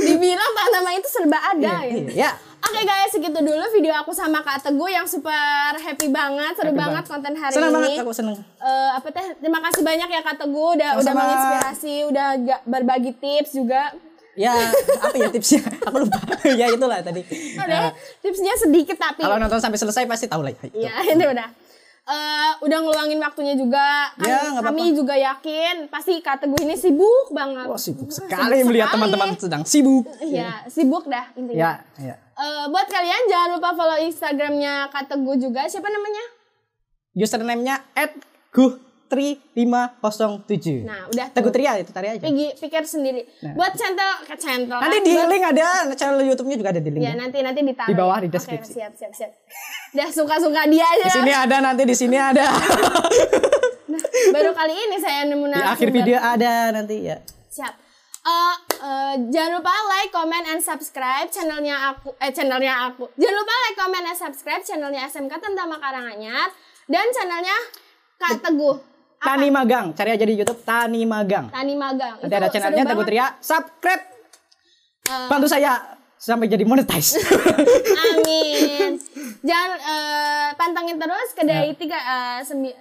Speaker 1: Dibilang nama itu serba ada ya.
Speaker 2: Iya.
Speaker 1: Oke guys, segitu dulu video aku sama Kak Teguh yang super happy banget, seru
Speaker 2: Happy
Speaker 1: banget,
Speaker 2: banget.
Speaker 1: konten hari
Speaker 2: Senang
Speaker 1: ini.
Speaker 2: banget aku seneng.
Speaker 1: Eh, apa teh? Terima kasih banyak ya Kak Teguh udah udah
Speaker 2: Sama-sama.
Speaker 1: menginspirasi, udah ga- berbagi tips juga.
Speaker 2: Ya, apa ya tipsnya? Aku lupa. ya itulah tadi.
Speaker 1: Ada
Speaker 2: Eh,
Speaker 1: tipsnya sedikit tapi
Speaker 2: kalau nonton sampai selesai pasti tahu lah. ya, itu.
Speaker 1: ya itu udah. Eh, udah ngeluangin waktunya juga. Kami,
Speaker 2: Ya, nggak
Speaker 1: kami juga yakin pasti Kak Teguh ini sibuk banget.
Speaker 2: Wah, Oh, sibuk sekali melihat teman-teman sedang sibuk.
Speaker 1: Ya, sibuk dah intinya.
Speaker 2: Ya, ya.
Speaker 1: Eh, buat kalian jangan lupa follow Instagramnya Kak Teguh juga. Siapa namanya?
Speaker 2: Username-nya @guh3507.
Speaker 1: Nah, udah tuh.
Speaker 2: Teguh Tria itu tadi aja.
Speaker 1: Pigi- pikir sendiri. Buat centel ke centel.
Speaker 2: Nah. Nanti
Speaker 1: kan?
Speaker 2: di
Speaker 1: Buat-
Speaker 2: link ada, channel YouTube-nya juga ada di
Speaker 1: Ya
Speaker 2: link.
Speaker 1: nanti nanti ditaruh.
Speaker 2: Di bawah, di
Speaker 1: Oke,
Speaker 2: deskripsi.
Speaker 1: siap siap siap. Udah suka suka dia aja.
Speaker 2: Di sini ada nanti di sini ada.
Speaker 1: Nah, Baru kali ini saya nemu
Speaker 2: di akhir
Speaker 1: narasumber.
Speaker 2: video ada nanti ya.
Speaker 1: Siap. Eh, eh, jangan lupa like, comment, and subscribe channelnya aku eh channelnya aku. Jangan lupa like, comment, and subscribe channelnya SMK Tentama Karanganyar dan channelnya Kak Teguh
Speaker 2: Tani Magang, cari aja di YouTube Tani Magang.
Speaker 1: Tani Magang.
Speaker 2: Nanti
Speaker 1: Itu
Speaker 2: ada
Speaker 1: seru
Speaker 2: channelnya Teguh
Speaker 1: banget.
Speaker 2: Tria. Subscribe.
Speaker 1: Eh.
Speaker 2: Bantu saya sampai jadi monetize.
Speaker 1: Amin. Jangan eh, pantengin terus kedai tiga eh, sembi-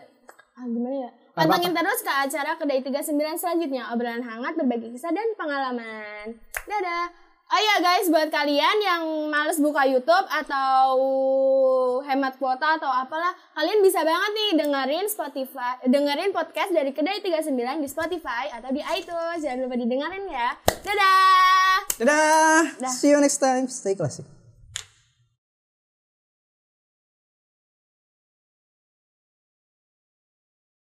Speaker 1: ah, gimana ya? Pantengin terus ke acara kedai 39 selanjutnya obrolan hangat berbagi kisah dan pengalaman. Dadah. Oh iya guys, buat kalian yang males buka YouTube atau hemat kuota atau apalah, kalian bisa banget nih dengerin Spotify, dengerin podcast dari Kedai 39 di Spotify atau di iTunes. Jangan lupa didengerin ya. Dadah.
Speaker 2: Dadah. See you next time. Stay classy.